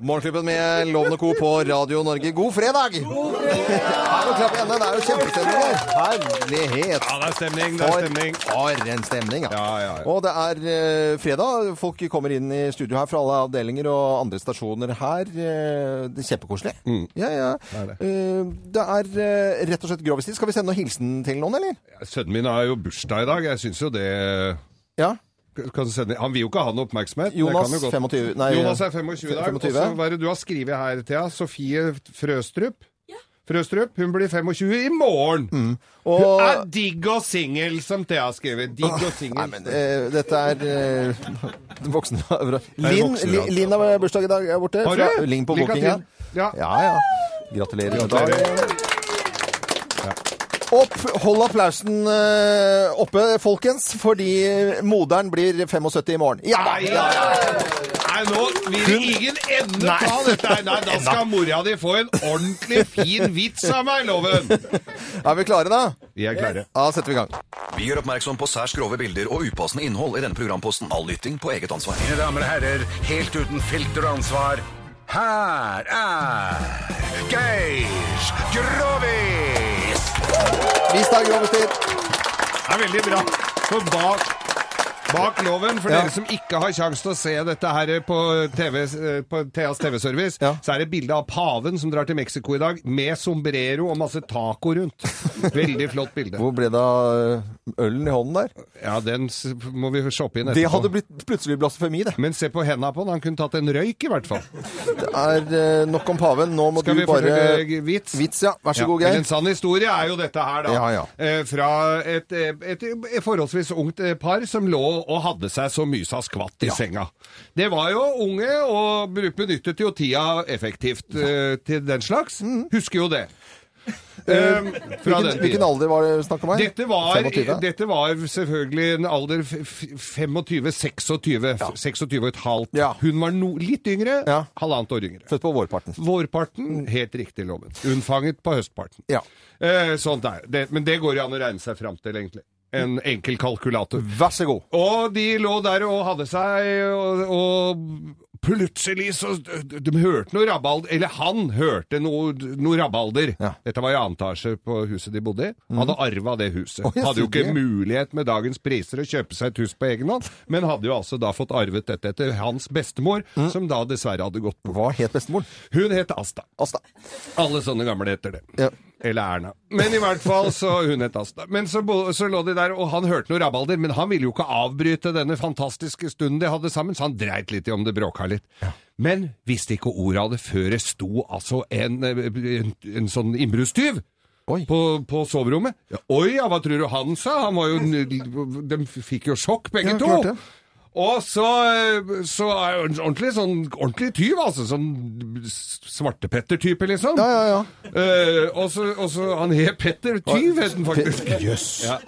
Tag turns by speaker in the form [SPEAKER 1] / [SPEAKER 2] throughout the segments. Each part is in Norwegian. [SPEAKER 1] Morgenklubben med Lovende Co. på Radio Norge. God fredag! God fredag! Klapp igjen, det er jo kjempestemning her. Herlighet.
[SPEAKER 2] Ja, det er stemning, det er
[SPEAKER 1] For,
[SPEAKER 2] stemning.
[SPEAKER 1] for en stemning, ja.
[SPEAKER 2] Ja, ja, ja.
[SPEAKER 1] Og det er eh, fredag. Folk kommer inn i studio her fra alle avdelinger og andre stasjoner her. Eh, det er kjempekoselig. Ja, ja.
[SPEAKER 2] Mm. Det er det.
[SPEAKER 1] Eh, det er eh, rett og slett grovistid. Skal vi sende noen hilsen til noen, eller?
[SPEAKER 2] Sønnen min har jo bursdag i dag. Jeg syns jo det eh,
[SPEAKER 1] Ja.
[SPEAKER 2] kan du sende, Han vil jo ikke ha noe oppmerksomhet. Det
[SPEAKER 1] Jonas,
[SPEAKER 2] kan jo godt-
[SPEAKER 1] 25 nei,
[SPEAKER 2] Jonas er 25 i dag.
[SPEAKER 1] 25.
[SPEAKER 2] Og så hva er det du har skrevet her, Thea? Sofie Frøstrup. Frøstrup, Hun blir 25 i morgen.
[SPEAKER 1] Mm. Og,
[SPEAKER 2] Hun er digg og singel, som Thea har skrevet. Digg og
[SPEAKER 1] Nei, men
[SPEAKER 2] singel.
[SPEAKER 1] eh, dette er eh, voksne Linn
[SPEAKER 2] voksne, ja.
[SPEAKER 1] Lin, Linn har bursdag i dag er borte.
[SPEAKER 2] Har du?
[SPEAKER 1] fra- Linn på
[SPEAKER 2] Lykke
[SPEAKER 1] booking,
[SPEAKER 2] til.
[SPEAKER 1] ja.
[SPEAKER 2] Ja.
[SPEAKER 1] Ja, ja. Gratulerer. med
[SPEAKER 2] Gratulerer.
[SPEAKER 1] dagen. Opp, hold applausen eh, oppe, folkens, fordi moderen blir 75 i morgen. Ja!
[SPEAKER 2] Nei, ja, ja. Nei, nå vil ingen ende ta dette her. Nei, da skal mora di få en ordentlig fin vits av meg, Loven.
[SPEAKER 1] Er vi klare, da?
[SPEAKER 2] Vi er klare.
[SPEAKER 1] Da setter vi i gang.
[SPEAKER 3] Vi gjør oppmerksom på særs grove bilder og upassende innhold i denne programposten. All lytting på eget ansvar.
[SPEAKER 4] Mine damer og herrer, helt uten filter og ansvar, her er Geir Grovis!
[SPEAKER 1] Vis deg grovestid.
[SPEAKER 2] Det er veldig bra. For bak, bak loven, for
[SPEAKER 1] Ja.
[SPEAKER 2] dere som ikke har sjanse til å se dette her på, TV, eh, på Theas TV-service,
[SPEAKER 1] Ja.
[SPEAKER 2] så er det et bilde av paven som drar til Mexico i dag, med sombrero og masse taco rundt. Veldig flott bilde.
[SPEAKER 1] Hvor ble det av eh, ølen i hånden der?
[SPEAKER 2] Ja, den s- må vi shoppe inn
[SPEAKER 1] Det hadde
[SPEAKER 2] etterpå.
[SPEAKER 1] blitt plutselig blasfemi, det.
[SPEAKER 2] Men se på henda på han. Han kunne tatt en røyk, i hvert fall.
[SPEAKER 1] Det er eh, nok om paven. Nå må
[SPEAKER 2] Skal
[SPEAKER 1] du
[SPEAKER 2] vi
[SPEAKER 1] bare
[SPEAKER 2] fortelle vits?
[SPEAKER 1] eh, Vits, ja. Vær så
[SPEAKER 2] Ja,
[SPEAKER 1] god,
[SPEAKER 2] men
[SPEAKER 1] Geir.
[SPEAKER 2] En sann historie er jo dette her, da.
[SPEAKER 1] Ja, ja.
[SPEAKER 2] Eh, Fra et, eh, et forholdsvis ungt eh, par som lå og hadde seg så mye sa skvatt i senga. Det var jo unge, og bru- benyttet jo tida effektivt eh, til den slags. Husker jo det. Eh, fra
[SPEAKER 1] Mhm. Hvilken,
[SPEAKER 2] den
[SPEAKER 1] hvilken
[SPEAKER 2] tida.
[SPEAKER 1] alder var det snakk om her?
[SPEAKER 2] Dette var,
[SPEAKER 1] 25?
[SPEAKER 2] dette var selvfølgelig en alder 25-26. 26 og et halvt.
[SPEAKER 1] Ja.
[SPEAKER 2] Hun var no, litt yngre,
[SPEAKER 1] Ja. Mm.
[SPEAKER 2] halvannet år yngre.
[SPEAKER 1] Født på vårparten.
[SPEAKER 2] Vårparten, helt riktig loven. Unnfanget på høstparten.
[SPEAKER 1] Ja.
[SPEAKER 2] Eh, sånt er det. Men det går jo an å regne seg fram til, egentlig. En enkel kalkulator.
[SPEAKER 1] Vær så god.
[SPEAKER 2] Og de lå der og hadde seg, og, og plutselig så De de hørte noe rabalder Eller han hørte noe, noe rabalder.
[SPEAKER 1] Ja. Mhm.
[SPEAKER 2] Dette var i annen etasje på huset de bodde i. Hadde arva det huset.
[SPEAKER 1] Å, jeg
[SPEAKER 2] hadde jo
[SPEAKER 1] sier
[SPEAKER 2] ikke
[SPEAKER 1] det.
[SPEAKER 2] mulighet med dagens priser å kjøpe seg et hus på egen hånd, men hadde jo altså da fått arvet dette etter hans bestemor,
[SPEAKER 1] Mhm.
[SPEAKER 2] som da dessverre hadde gått bort.
[SPEAKER 1] Hva het bestemoren?
[SPEAKER 2] Hun het Asta.
[SPEAKER 1] Asta.
[SPEAKER 2] Alle sånne gamle heter det.
[SPEAKER 1] Ja.
[SPEAKER 2] Eller Erna. Men i hvert fall så hun het Asta. Men så, bo- så lå de der, og han hørte noe rabalder, men han ville jo ikke avbryte denne fantastiske stunden de hadde sammen, så han dreit litt i om det bråka litt. Men visste ikke ordet av det før det sto altså en, eh, en, en sånn innbruddstyv.
[SPEAKER 1] Oi.
[SPEAKER 2] På, på soverommet. Ja, Oi, ja, hva tror du han sa? Han var jo, n- de fikk jo sjokk, begge
[SPEAKER 1] Ja,
[SPEAKER 2] to.
[SPEAKER 1] klart det.
[SPEAKER 2] Og så, eh, så er jo en ordentlig, sånn, ordentlig tyv, altså. Sånn svartepetter-type, liksom.
[SPEAKER 1] Ja, ja, ja.
[SPEAKER 2] Eh, og så, og så han het Petter Tyv, het han faktisk.
[SPEAKER 1] Jøss.
[SPEAKER 2] Ja.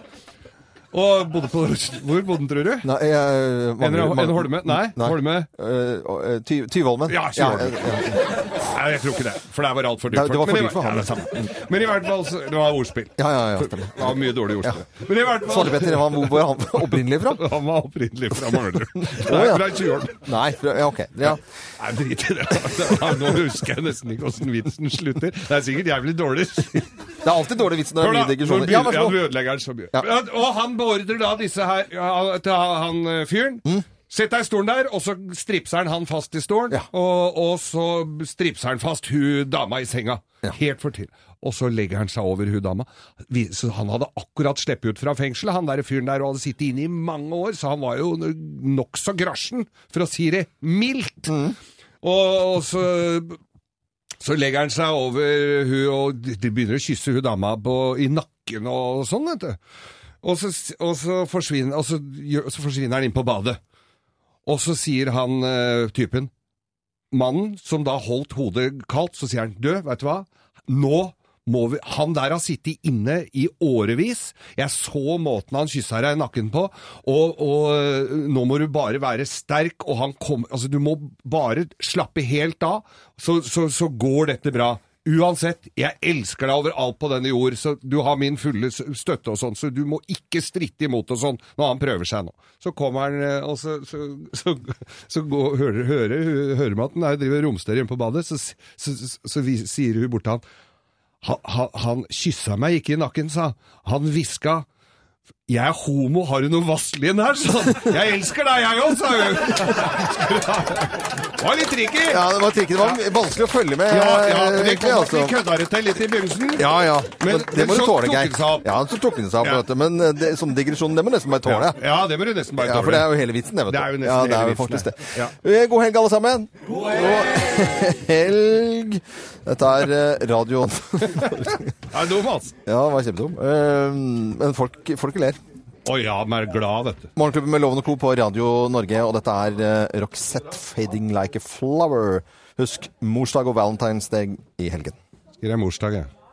[SPEAKER 2] Og bodde på Hvor bodde han, tror du?
[SPEAKER 1] Nei, jeg
[SPEAKER 2] En, en Holme? Nei, Holme.
[SPEAKER 1] Eh, eh, Ty- Tyvholmen.
[SPEAKER 2] Ja, Tyvholmen.
[SPEAKER 1] Ja, eh,
[SPEAKER 2] Nei, jeg tror ikke det. For det her var altfor dyrt.
[SPEAKER 1] Det- det var for
[SPEAKER 2] Men i
[SPEAKER 1] dyrt for
[SPEAKER 2] hvert-
[SPEAKER 1] han.
[SPEAKER 2] Ja, det er samme. Men i hvert fall så, Det var ordspill.
[SPEAKER 1] ja, ja, ja, stemmer.
[SPEAKER 2] Det var mye dårlig ordspill. Men i hvert fall
[SPEAKER 1] Svartepetter, han- hvor var han opprinnelig fra?
[SPEAKER 2] Han var opprinnelig fra Manglerud.
[SPEAKER 1] Å,
[SPEAKER 2] Nei,
[SPEAKER 1] ja.
[SPEAKER 2] fra Tjuvholmen.
[SPEAKER 1] Nei, fra, ja, ok. Ja.
[SPEAKER 2] Nei, drit i det. Det var- Nå husker jeg nesten ikke åssen vitsen slutter. Det er sikkert jævlig dårlig.
[SPEAKER 1] Det er alltid dårlig vits når det
[SPEAKER 2] Hør
[SPEAKER 1] er
[SPEAKER 2] da,
[SPEAKER 1] mye digresjoner.
[SPEAKER 2] når
[SPEAKER 1] Ja,
[SPEAKER 2] begynner-
[SPEAKER 1] vær så
[SPEAKER 2] ja, du
[SPEAKER 1] god.
[SPEAKER 2] ødelegger den så mye.
[SPEAKER 1] Ja.
[SPEAKER 2] Ja, Og han beordrer da disse her ja, til han eh, fyren. Sett deg i stolen der, og så stripser han han fast i stolen.
[SPEAKER 1] Mm. Ja.
[SPEAKER 2] Og, og så stripser han fast hun dama i senga.
[SPEAKER 1] Ja.
[SPEAKER 2] Helt fortid. Og så legger han seg over hun dama. Vi- Så han hadde akkurat sluppet ut fra fengselet, han der fyren der, og hadde sittet inne i mange år, så han var jo nokså grasjen, for å si det mildt.
[SPEAKER 1] Mm.
[SPEAKER 2] Og, og så så legger han seg over hun, og de- de begynner å kysse hun dama på, i nakken og sånn, vet du. Og så, og så, forsvinner, og så, gjør- så forsvinner han inn på badet. Og så sier han eh, typen, mannen som da holdt hodet kaldt, så sier han, du, vet du hva, nå må vi, han der har sittet inne i årevis, jeg så måten han kyssa deg i nakken på, og, og eh, nå må du bare være sterk, og han kommer, altså du må bare slappe helt av, så, så, så går dette bra. Uansett, jeg elsker deg overalt på denne jord, så du har min fulle s- støtte og sånn, så du må ikke stritte imot og sånn når han prøver seg nå. Så kommer han, eh, og så, så, så, så går, hører, hører, hører man at han er- driver og romsterer hjemme på badet, så, s- så, så, så vi, sier hun bort til han, han, han, han kyssa meg ikke i nakken, sa han. Han hviska jeg er homo, har du noe vaselin her? sa han. jeg elsker deg, jeg òg, sa hun. Det var litt tricky.
[SPEAKER 1] Ja, det var tricky. Det var vanskelig å følge med, eh,
[SPEAKER 2] Ja, ja, det
[SPEAKER 1] egentlig.
[SPEAKER 2] kom at vi
[SPEAKER 1] altså.
[SPEAKER 2] kødda det til litt i begynnelsen.
[SPEAKER 1] Ja, ja. Men,
[SPEAKER 2] Men-
[SPEAKER 1] det må
[SPEAKER 2] men
[SPEAKER 1] du
[SPEAKER 2] så
[SPEAKER 1] tåle,
[SPEAKER 2] tok
[SPEAKER 1] Geir.
[SPEAKER 2] den seg opp.
[SPEAKER 1] Ja, så tok den seg opp,
[SPEAKER 2] Ja.
[SPEAKER 1] vet du. Men eh, det, sånn digresjon, det må nesten bare tåle.
[SPEAKER 2] Ja, det må du nesten bare
[SPEAKER 1] Ja, for
[SPEAKER 2] tåle.
[SPEAKER 1] det er jo hele vitsen, det, vet du.
[SPEAKER 2] Det er jo nesten
[SPEAKER 1] ja, det
[SPEAKER 2] hele
[SPEAKER 1] er jo
[SPEAKER 2] vitsen,
[SPEAKER 1] faktisk
[SPEAKER 2] det.
[SPEAKER 1] det. Eh, God helg, alle sammen. God helg! helg. Dette er eh, radioen.
[SPEAKER 2] Ja, dum, altså.
[SPEAKER 1] ja, det var kjempedum. Eh, men folk, folk ler.
[SPEAKER 2] Å ja, de er glad, vet du.
[SPEAKER 1] Morgenklubben med Loven og Co. på Radio Norge, og dette er eh, Roxette Fading Like a Flower. Husk morsdag og valentinsdag i helgen.
[SPEAKER 2] Skriver jeg morsdag, jeg.